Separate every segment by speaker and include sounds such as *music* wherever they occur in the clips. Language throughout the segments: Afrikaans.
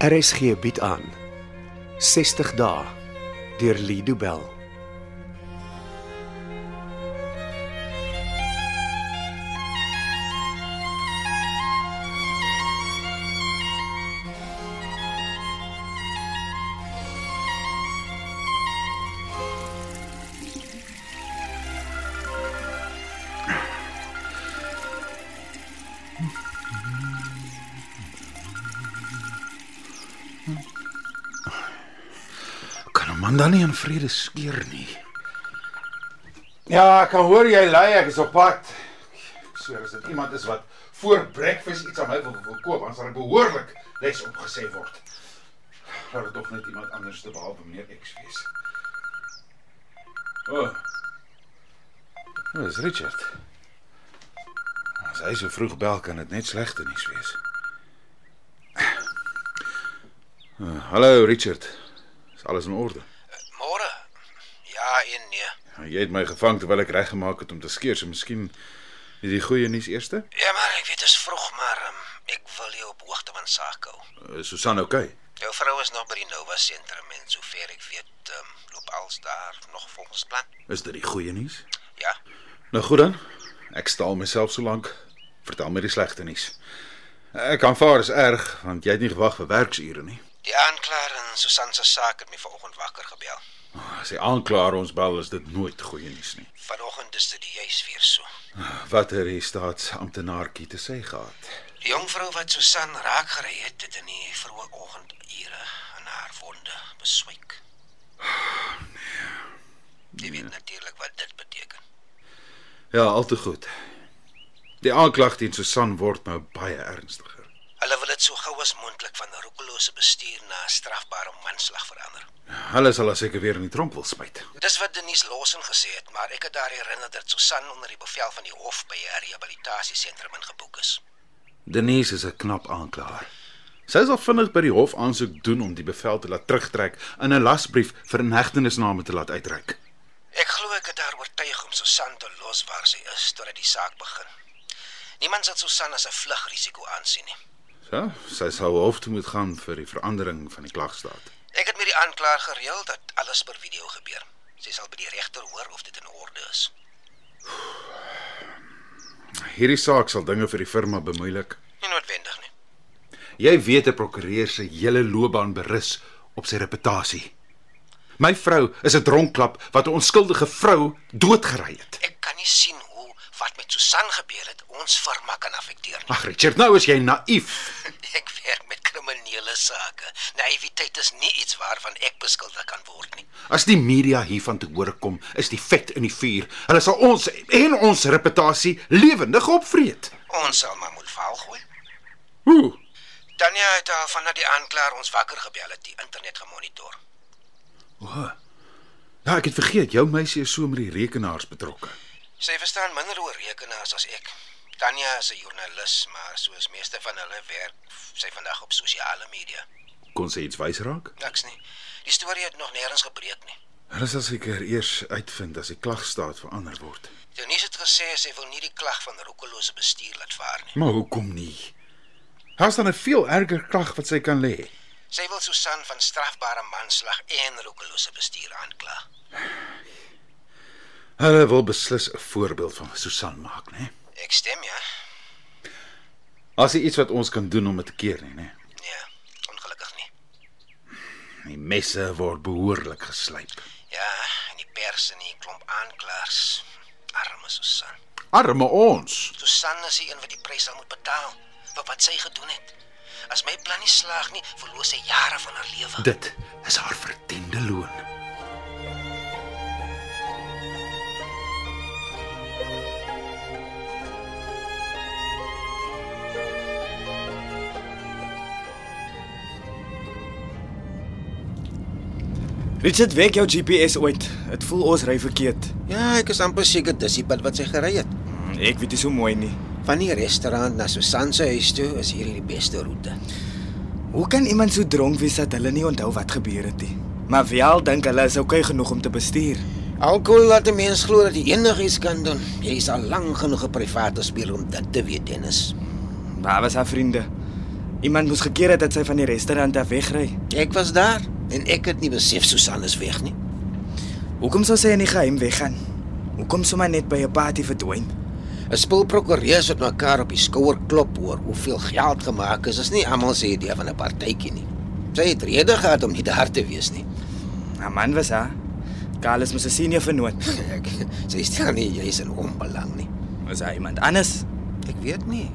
Speaker 1: RSG bied aan 60 dae deur Lido Bell.
Speaker 2: Kan 'n man dan nie in vrede skeer nie.
Speaker 3: Ja, ek kan hoor jy ly, ek is op pad. So as dit iemand is wat voor breakfast iets aan my wil wil koop, dan sal ek behoorlik les opgesê word. Laat dit tog net iemand anders te behalwe meneer X wees. O. Oh. Dis Richard. As hy so vroeg bel kan dit net slegte nuus wees. Uh, hallo Richard. Is alles in orde?
Speaker 4: Môre. Ja en nee.
Speaker 3: Nou, Jy het my gevang terwyl ek reggemaak het om te skeer, so miskien is die goeie nuus eerste.
Speaker 4: Ja, maar ek weet dit is vroeg, maar um, ek wil jou op hoogte van sake hou.
Speaker 3: Uh, Susan okay.
Speaker 4: Jou vrou is nog by die Nova sentrum en sover ek weet, um, loop alles daar nog volgens plan.
Speaker 3: Is dit die goeie nuus?
Speaker 4: Ja.
Speaker 3: Nou goed dan. Ek staal myself so lank. Vertel my die slegte nuus. Ek aanvaar is erg want jy het nie gewag vir werksure nie.
Speaker 4: Die aanklaer in Susan se saak het my vanoggend wakker gebel.
Speaker 3: As die aanklaer ons bel is dit nooit goeie nuus nie.
Speaker 4: Vanoggend is dit die huis weer so.
Speaker 3: Wat het die staatsamptenaartjie te sê gehad?
Speaker 4: Die jong vrou wat Susan raak gery het, het in die vroeë oggendure aan haar wonde beswyk. Jy weet natuurlik wat dit beteken.
Speaker 3: Ja, al te goed. Die aanklag teen Susan word nou baie ernstiger.
Speaker 4: Hulle wil dit so gou as moontlik van roekelose bestuur na 'n strafbare manslag verander.
Speaker 3: Hulle sal haar seker weer in die tromp wil spyt.
Speaker 4: Dis wat Denise Lawson gesê het, maar ek het haar herinner dat Susan onder die bevel van die hof by 'n rehabilitasiesentrum ingeboek is.
Speaker 3: Denise is 'n knap aanklaer. Sy sal vinnig by die hof aansoek doen om die bevel te laat terugtrek en 'n lasbrief vir inhegtenisname te laat uitreik.
Speaker 4: Ek glo ek het haar oortuig om Susan te los waar sy is totdat die saak begin. Niemand sal Susan as 'n vlugrisiko aansien nie.
Speaker 3: So, sy sou hof toe moet gaan vir die verandering van die klagstaat.
Speaker 4: Ek het met die aanklaer gereël dat alles per video gebeur. Sy sal by die regter hoor of dit in orde is.
Speaker 3: Hierdie saak sal dinge vir die firma bemoeilik.
Speaker 4: Nie noodwendig nie.
Speaker 3: Jy weet 'n prokureur se hele loopbaan berus op sy reputasie. My vrou is 'n dronklap wat 'n onskuldige vrou doodgery het.
Speaker 4: Ek kan nie sien hoe wat met Susan gebeur het ons firma kan afekteer nie.
Speaker 3: Ag Richard, nou is jy naïef.
Speaker 4: Ek werk met kriminele sake. Naïwiteit is nie iets waarvan ek beskuldig kan word nie.
Speaker 3: As die media hiervan te hore kom, is die vet in die vuur. Hulle sal ons en ons reputasie lewendig opvreet.
Speaker 4: Ons sal maar moet vaal gooi.
Speaker 3: Hoe?
Speaker 4: Tanya het haar vanaf die aanklaer ons wakker gebel het, die internet gemonitor.
Speaker 3: Ja, ek het vergeet jou meisie is so met die rekenaars betrokke.
Speaker 4: Sy verstaan minder oor rekenaars as ek. Tanya is 'n joernalis, maar soos meeste van hulle werk sy vandag op sosiale media.
Speaker 3: Kon sy iets wys raak?
Speaker 4: Niks nie. Die storie het nog nêrens gebreek nie.
Speaker 3: Hulle sal seker eers uitvind as die klagstaat verander word.
Speaker 4: Denise het gesê sy wil nie die klag van roekelose bestuur laat vaar nie.
Speaker 3: Maar hoekom nie? Daar's dan 'n veel erger klag wat sy kan lê.
Speaker 4: Sy wil Susan van strafbare manslag en roekelose bestuur aankla.
Speaker 3: Hulle wil beslis 'n voorbeeld van Susan maak, né?
Speaker 4: Ek stem ja.
Speaker 3: As jy iets wat ons kan doen om dit te keer nie, né?
Speaker 4: Nee, ongelukkig nie.
Speaker 3: Die messe word behoorlik geslyp.
Speaker 4: Ja, en die pers en die klomp aanklaers. Arme Susan.
Speaker 3: Arme ons.
Speaker 4: Susan is die een wat die prys sal moet betaal vir wat sy gedoen het. As my plan nie slaag nie, verloor sy jare van haar lewe.
Speaker 3: Dit is haar verdiende loon.
Speaker 5: Richard, wek jou GPS ooit. Dit voel ons ry verkeerd.
Speaker 4: Ja, ek is amper seker dis die pad wat sy gery het.
Speaker 5: Hm, Ek weet nie so mooi nie.
Speaker 4: Van die restaurant na Susan se huis toe is hierdie die beste roete.
Speaker 5: Hoe kan iemand so dronk wees dat hulle nie onthou wat gebeur het nie? Maar wel dink hulle is oukei okay genoeg om te bestuur.
Speaker 4: Alkohol laat 'n mens glo dat jy enigiets kan doen. Jy is al lank genoeg 'n private speler om dit te weet, Dennis.
Speaker 5: Waar was haar vriende? Iemand moes gekeer het dat sy van die restaurant af wegry.
Speaker 4: Ek was daar en ek het nie besef Susan is weg nie.
Speaker 5: Hoekom sou sy in die geheim weggaan? Hoekom sommer net by 'n party verdwyn?
Speaker 4: 'n Spul prokureurs wat mekaar op die skouer klop oor hoeveel geld gemaak is, is nie almal se idee van 'n partytjie nie. Sy het rede gehad om nie daar te wees nie. *laughs*
Speaker 5: Haar man was haar. Carlos moes 'n senior vernoot.
Speaker 4: Ek sy stel nie jy is in onbelang nie.
Speaker 5: Was hy iemand anders?
Speaker 4: Ek weet nie.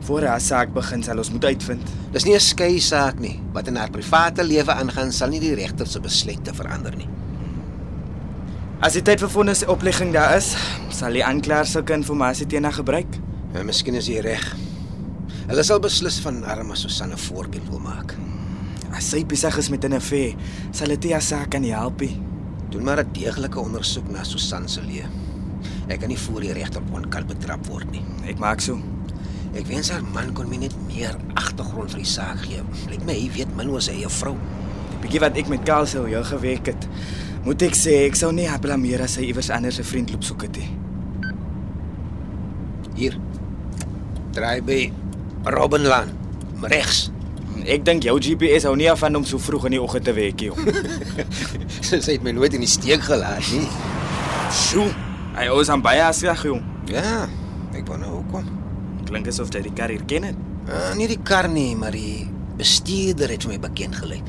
Speaker 5: Voor haar saak begin sal ons moet uitvind.
Speaker 4: Dis nie 'n skei saak nie. Wat in haar private lewe aangaan, sal nie die regter se besluite verander nie.
Speaker 5: As die tyd vir vonnisoplegging daar is, sal die aanklaer sulke inligting teen haar gebruik.
Speaker 4: En Ja, miskien is jy reg. Hulle sal beslis van arme Susanne voorbeeld wil maak.
Speaker 5: As sy besig is met 'n affair, sal dit nie haar saak kan nie help nie.
Speaker 4: Doen maar 'n deeglike ondersoek na Susan se lewe. Ek kan nie voor die regter op onkalp betrap word nie.
Speaker 5: Ek maak so.
Speaker 4: Ek wens haar man kon my net meer agtergrond vir die saak gee. Lyk my hy weet min oor sy eie vrou.
Speaker 5: Die bietjie wat ek met Carlos se heel gewerk het, moet ek sê ek sou nie haar blameer as sy iewers anders 'n vriend loop soek het nie.
Speaker 4: Hier. Draai by Robbenlaan, regs. *laughs*
Speaker 5: Ek dink jou GPS hou nie af van om so vroeg in die oggend te wek nie. joh.
Speaker 4: Sy het my nooit in die steek gelaat nie.
Speaker 5: Sjoe, *laughs* hy is aan baie asrag jong.
Speaker 4: Ja, ek wou nou hoekom.
Speaker 5: Klink asof jy die kar hier ken het.
Speaker 4: Uh, nie die kar nie, maar die bestuurder het vir my bekend gelyk.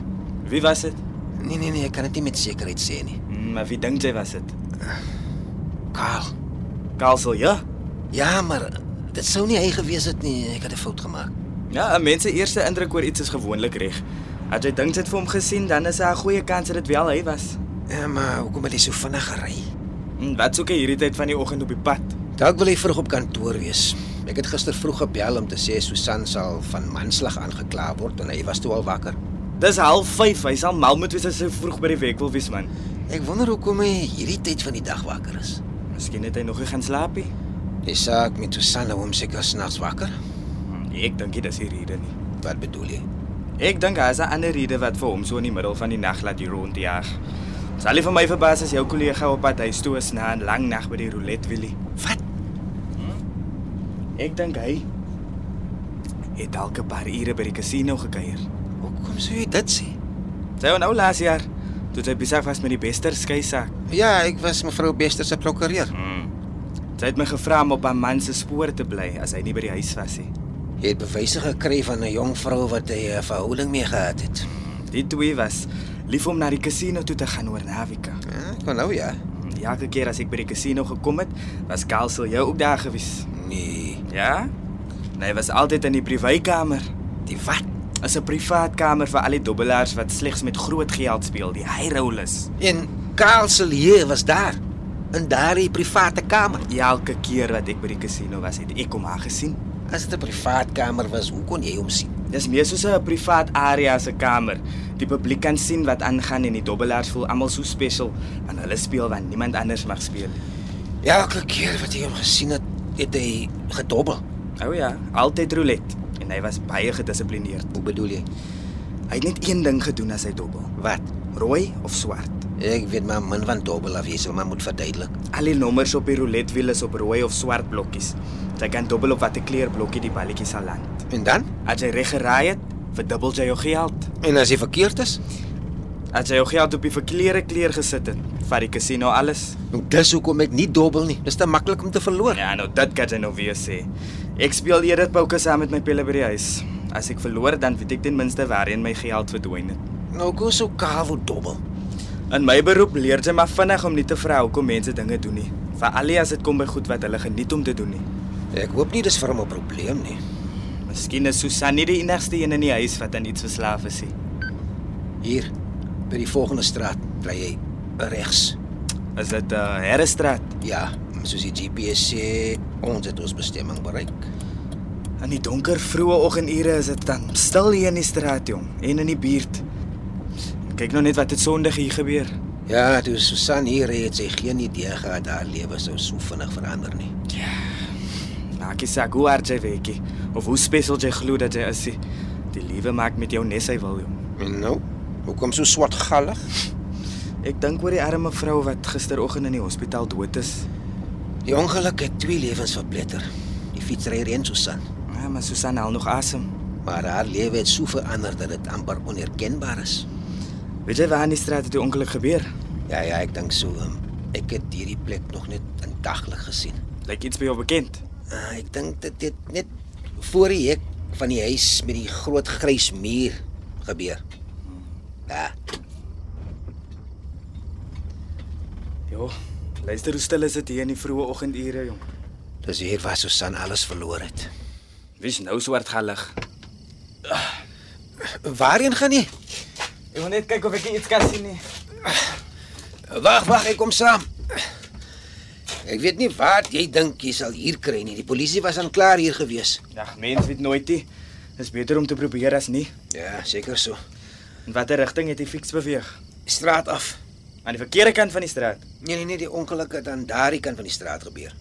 Speaker 5: Wie was dit?
Speaker 4: Nee nee nee, ek kan dit nie met sekerheid sê nie.
Speaker 5: Hm, Maar wie dink jy was dit?
Speaker 4: Karl.
Speaker 5: Carlos, ja.
Speaker 4: Ja, maar dit sou nie hy gewees het nie. Ek het 'n fout gemaak.
Speaker 5: Ja, 'n mens se eerste indruk oor iets is gewoonlik reg. As jy dink jy het vir hom gesien, dan is daar 'n goeie kans dat dit wel hy was.
Speaker 4: Ja, maar hoekom het hy so vinnig gery?
Speaker 5: Hm, Wat soek hy hierdie tyd van die oggend op die pad?
Speaker 4: Dalk wil hy vroeg op kantoor wees. Ek het gister vroeg gebel om te sê Susan sal van manslag aangekla word en hy was toe al wakker.
Speaker 5: Dis 05:30, hy sal mal moet wees as hy vroeg by die werk wil wees man.
Speaker 4: Ek wonder hoekom hy hierdie tyd van die dag wakker is.
Speaker 5: Miskien het hy nog nie gaan slaap nie.
Speaker 4: Die saak met Susan hou hom seker snags wakker.
Speaker 5: Nee, ek dink nie dis die rede nie.
Speaker 4: Wat bedoel jy?
Speaker 5: Ek dink daar's 'n ander rede wat vir hom so in die middel van die nag laat hier rondjaag. Sal nie vir my verbaas as jou kollega op pad huis toe is na 'n lang nag by die roulette wielie. Hm?
Speaker 4: Wat?
Speaker 5: Ek dink hy het dalk 'n paar ure by die casino gekuier.
Speaker 4: Hoekom sou jy dit sê?
Speaker 5: Sy onthou laas jaar toe sy besig was met die bester skei sak.
Speaker 4: Ja, ek was mevrou Bester se prokureur.
Speaker 5: Sy het my gevra om op haar man se spoor te bly as hy nie by die huis was nie.
Speaker 4: Hy het bewyse gekry van 'n jong vrou wat hy 'n verhouding mee gehad het.
Speaker 5: Die twee was lief om na die casino toe te gaan oor Navika.
Speaker 4: Ja, ek kon nou ja.
Speaker 5: Die elke keer as ek by die casino gekom het, was Kelsel jou ook daar gewees.
Speaker 4: Nee,
Speaker 5: Ja? Nee, hy was altyd in die privaatkamer.
Speaker 4: die wat?
Speaker 5: As 'n privaatkamer vir al die dobbelaars wat slegs met groot geld speel, die high rollers.
Speaker 4: En Karl Silje was daar in daardie private kamer.
Speaker 5: Elke keer wat ek by die casino was, het ek hom haar gesien.
Speaker 4: As dit 'n privaat kamer was, hoe kon jy hom sien?
Speaker 5: Dis meer soos 'n privaat area se kamer. Die publiek kan sien wat aangaan en die dobbelaars voel almal so special want hulle speel want niemand anders mag speel.
Speaker 4: Elke keer wat jy hom gesien het, het hy gedobbel.
Speaker 5: O oh ja, altyd roulette en hy was baie gedissiplineerd.
Speaker 4: Hoe bedoel jy?
Speaker 5: Hy het net een ding gedoen as hy dobbel,
Speaker 4: Wat?
Speaker 5: rooi of swart.
Speaker 4: Ek weet maar min van dobbel af, jy sal maar moet verduidelik.
Speaker 5: Al die nommers op die roulette wiel is op rooi of swart blokkies. Jy kan dobbel op watter kleur blokkie die balletjie sal land.
Speaker 4: En dan?
Speaker 5: As jy reg geraai het, verdubbel jy jou geld.
Speaker 4: En as hy verkeerd is?
Speaker 5: As jy jou geld op die verkeerde kleur gesit het, vat die casino alles.
Speaker 4: Nou dis hoekom ek nie dobbel nie. Dis te maklik om te verloor.
Speaker 5: Ja, nou dit kan jy nou weer sê. Ek speel eerder poker saam met my pelle by die huis. As ek verloor, dan weet ek ten minste waarheen my geld verdwyn het.
Speaker 4: Nou kom so kaal dobbel.
Speaker 5: In my beroep leer jy maar vinnig om nie te vra hoekom mense dinge doen nie, veral nie as dit kom by goed wat hulle geniet om te doen nie.
Speaker 4: Ek hoop nie dis vir hom 'n probleem nie.
Speaker 5: Miskien is Susan nie die enigste een in die huis wat aan iets verslaaf is nie.
Speaker 4: Hier by die volgende straat bly jy regs.
Speaker 5: Is dit 'n uh, herrestraat?
Speaker 4: Ja, soos die GPS sê, ons het ons bestemming bereik.
Speaker 5: In die donker vroeë oggendure is dit dan stil hier in die straat jong en in die buurt. Kyk nou net wat het Sondag hier gebeur.
Speaker 4: Ja, toe Susan hier ry, het sy geen idee gehad haar lewe sou so vinnig verander nie.
Speaker 5: Ja, Maak nie saak hoe hard jy werkie of hoe spesiaal jy glo dat jy is. nie. Die lewe maak met jou nes hy wil jong.
Speaker 4: En nou, hoekom so swart gallig?
Speaker 5: Ek dink oor die arme vrou wat gisteroggend in die hospitaal dood is.
Speaker 4: Die ongeluk het twee lewens verpletter. Die fietsryer en Susan.
Speaker 5: Ja, maar Susan haal nog asem.
Speaker 4: maar haar lewe het so verander dat dit amper onherkenbaar is.
Speaker 5: Weet jy waar in die straat het die ongeluk gebeur?
Speaker 4: Ja ja, ek dink so. ehm, Ek het hierdie plek nog net indaglik gesien.
Speaker 5: Lyk iets by jou bekend?
Speaker 4: Ah, ek dink dit het net voor die hek van die huis met die groot grys muur gebeur. Ja,
Speaker 5: Ja. Luister hoe stil is dit hier in die vroeë oggendure, jong.
Speaker 4: dis hier waar Susan alles verloor het.
Speaker 5: Wie's nou swart gallig?
Speaker 4: Waarheen gaan jy?
Speaker 5: Ek wil net kyk of ek iets kan sien nie.
Speaker 4: Wag, wag, ek kom saam. Ek weet nie wat jy dink jy sal hier kry nie. Die polisie was aan klaar hier gewees.
Speaker 5: Ag, Ja, mens weet nooit nie. Dis beter om te probeer as nie.
Speaker 4: Ja, seker so.
Speaker 5: In watter rigting het die fiets beweeg?
Speaker 4: Straat af.
Speaker 5: Aan die verkeerde kant van die straat.
Speaker 4: Nee nee nee, die ongeluk het aan daardie kant van die straat gebeur.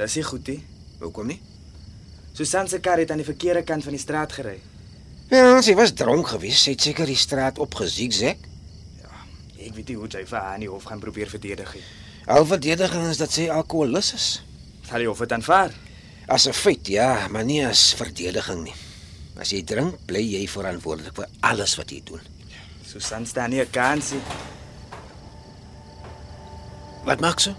Speaker 5: Dis nie goed nie.
Speaker 4: Hoekom nie?
Speaker 5: Susan se kar het aan die verkeerde kant van die straat gery.
Speaker 4: Ja, sy was dronk geweest. Sy het seker die straat opgesieksak.
Speaker 5: Ek weet nie hoe jy vir haar in die hof gaan probeer verdedig nie.
Speaker 4: Al verdediging is dat sy alkoholus is.
Speaker 5: Sal die hof dit aanvaar?
Speaker 4: As 'n feit, ja, maar nie as verdediging nie. As jy drink, bly jy verantwoordelik vir alles wat jy doen.
Speaker 5: Susan staan nie 'n kans nie.
Speaker 4: Wat maak so?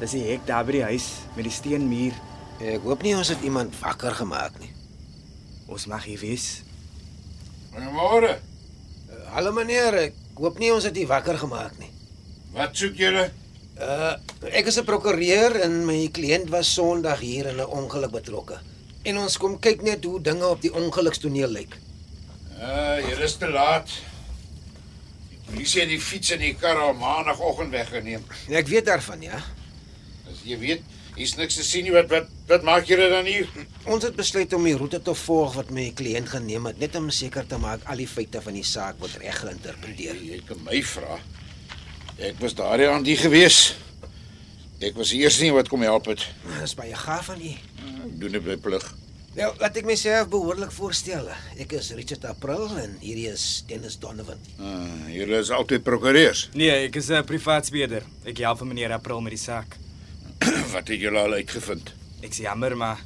Speaker 5: Dis die hek daar by die huis met die steenmuur.
Speaker 4: Ek hoop nie ons het iemand wakker gemaak nie.
Speaker 5: Ons mag hier wees.
Speaker 6: Goeiemôre.
Speaker 4: Hallo meneer, ek hoop nie ons het u wakker gemaak nie.
Speaker 6: Wat soek julle?
Speaker 4: Uh, ek is 'n prokureur en my kliënt was Sondag hier in 'n ongeluk betrokke. En ons kom kyk net hoe dinge op die ongelukstoneel lyk.
Speaker 6: Ah, uh, julle is te laat. Die polisie het die fiets en die kar al maandagooggend weggeneem.
Speaker 4: Ek weet daarvan, ja.
Speaker 6: As jy weet, hier's niks te sien nie. Wat wat wat maak julle dan hier?
Speaker 4: Ons het besluit om die roete te volg wat my kliënt geneem het, net om seker te maak al die feite van die saak word reg geïnterpreteer.
Speaker 6: Jy kan my vra. Ek was daardie aan die gewees. Ek was eers nie wat kom help het.
Speaker 4: Dis baie gaaf van u.
Speaker 6: Ek doen dit by plig.
Speaker 4: Nou, laat ek myself behoorlik voorstel. Ek is Richard April en hierdie is Dennis Donovan.
Speaker 6: Uh, julle is altyd prokureurs. *clears throat*
Speaker 5: Nee, ek is 'n privaatspeeder. Ek help vir meneer April met die saak.
Speaker 6: wat het julle al uitgevind?
Speaker 5: Ek's jammer, maar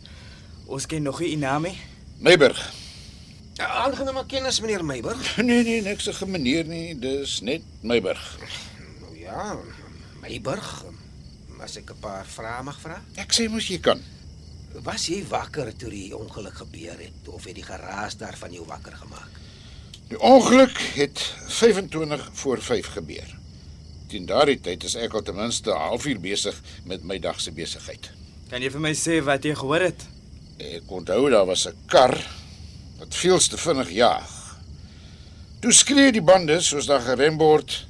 Speaker 5: ons ken nog nie u naam nie.
Speaker 6: Meiburg. *laughs*
Speaker 4: Aangename kennis meneer Meiburg.
Speaker 6: Nee nee, niks se gemeneer nie. Dis net Meiburg.
Speaker 4: Nou ja, Meiburg. As ek 'n paar vrae mag vra.
Speaker 6: Ek sê mos jy kan.
Speaker 4: Was jy wakker toe die ongeluk gebeur het of het die geraas daarvan jou wakker gemaak?
Speaker 6: Die ongeluk het 25 voor 5 gebeur. Teen daardie tyd is ek al ten minste 'n halfuur besig met my dag se besigheid.
Speaker 5: Kan jy vir my sê wat jy gehoor het?
Speaker 6: Ek onthou daar was 'n kar wat veels te vinnig jaag. Toe skree die bande soos daar gerem word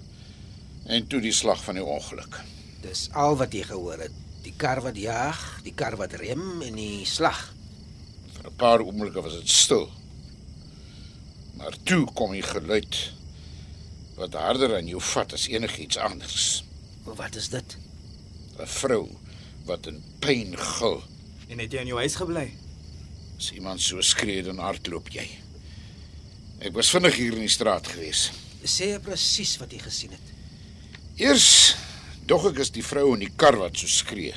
Speaker 6: en toe die slag van die ongeluk.
Speaker 4: Dis al wat jy gehoor het. Die kar wat jaag, die kar wat rem en die slag.
Speaker 6: Vir 'n paar oomblikke was dit stil. Maar toe kom die geluid wat harder aan jou vat as enigiets anders.
Speaker 4: Wat is dit?
Speaker 6: 'n Vrou wat in pyn gil.
Speaker 5: En het jy in jou huis gebly?
Speaker 6: As iemand so skree dan hardloop jy. Ek was vinnig hier in die straat gewees.
Speaker 4: Sê presies wat jy gesien het.
Speaker 6: Eers dog ek is die vrou in die kar wat so skree.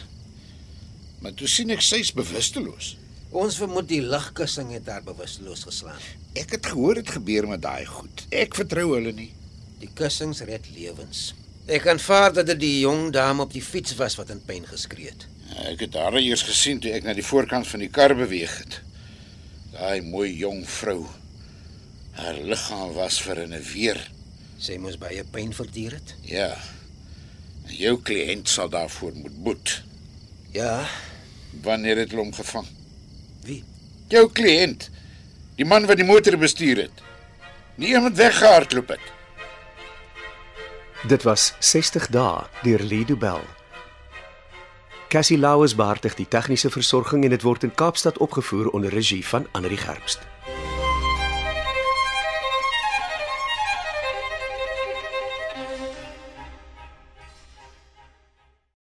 Speaker 6: Maar toe sien ek sy's bewusteloos.
Speaker 4: Ons vermoed die ligkussing het haar bewusteloos geslaan.
Speaker 6: Ek het gehoor dit gebeur met daai goed. Ek vertrou hulle nie.
Speaker 4: Die kussings red lewens. Ek aanvaar dat dit die jong dame op die fiets was wat in pyn geskree het.
Speaker 6: Ek het haar eers gesien toe ek na die voorkant van die kar beweeg het. Daai mooi jong vrou. Haar liggaam was vir in 'n weer.
Speaker 4: Sy moes baie pyn verduur het.
Speaker 6: Ja. En jou kliënt sal daarvoor moet boet.
Speaker 4: Ja,
Speaker 6: Wanneer het hulle hom gevang?
Speaker 4: Wie?
Speaker 6: Jou kliënt. Die man wat die motor bestuur het. Nie iemand weggehardloop het.
Speaker 1: Dit was 60 dae deur Lido Bell. Cassie Lauers beheer die tegniese versorging en dit word in Kaapstad opgevoer onder regie van Anri Gerbst.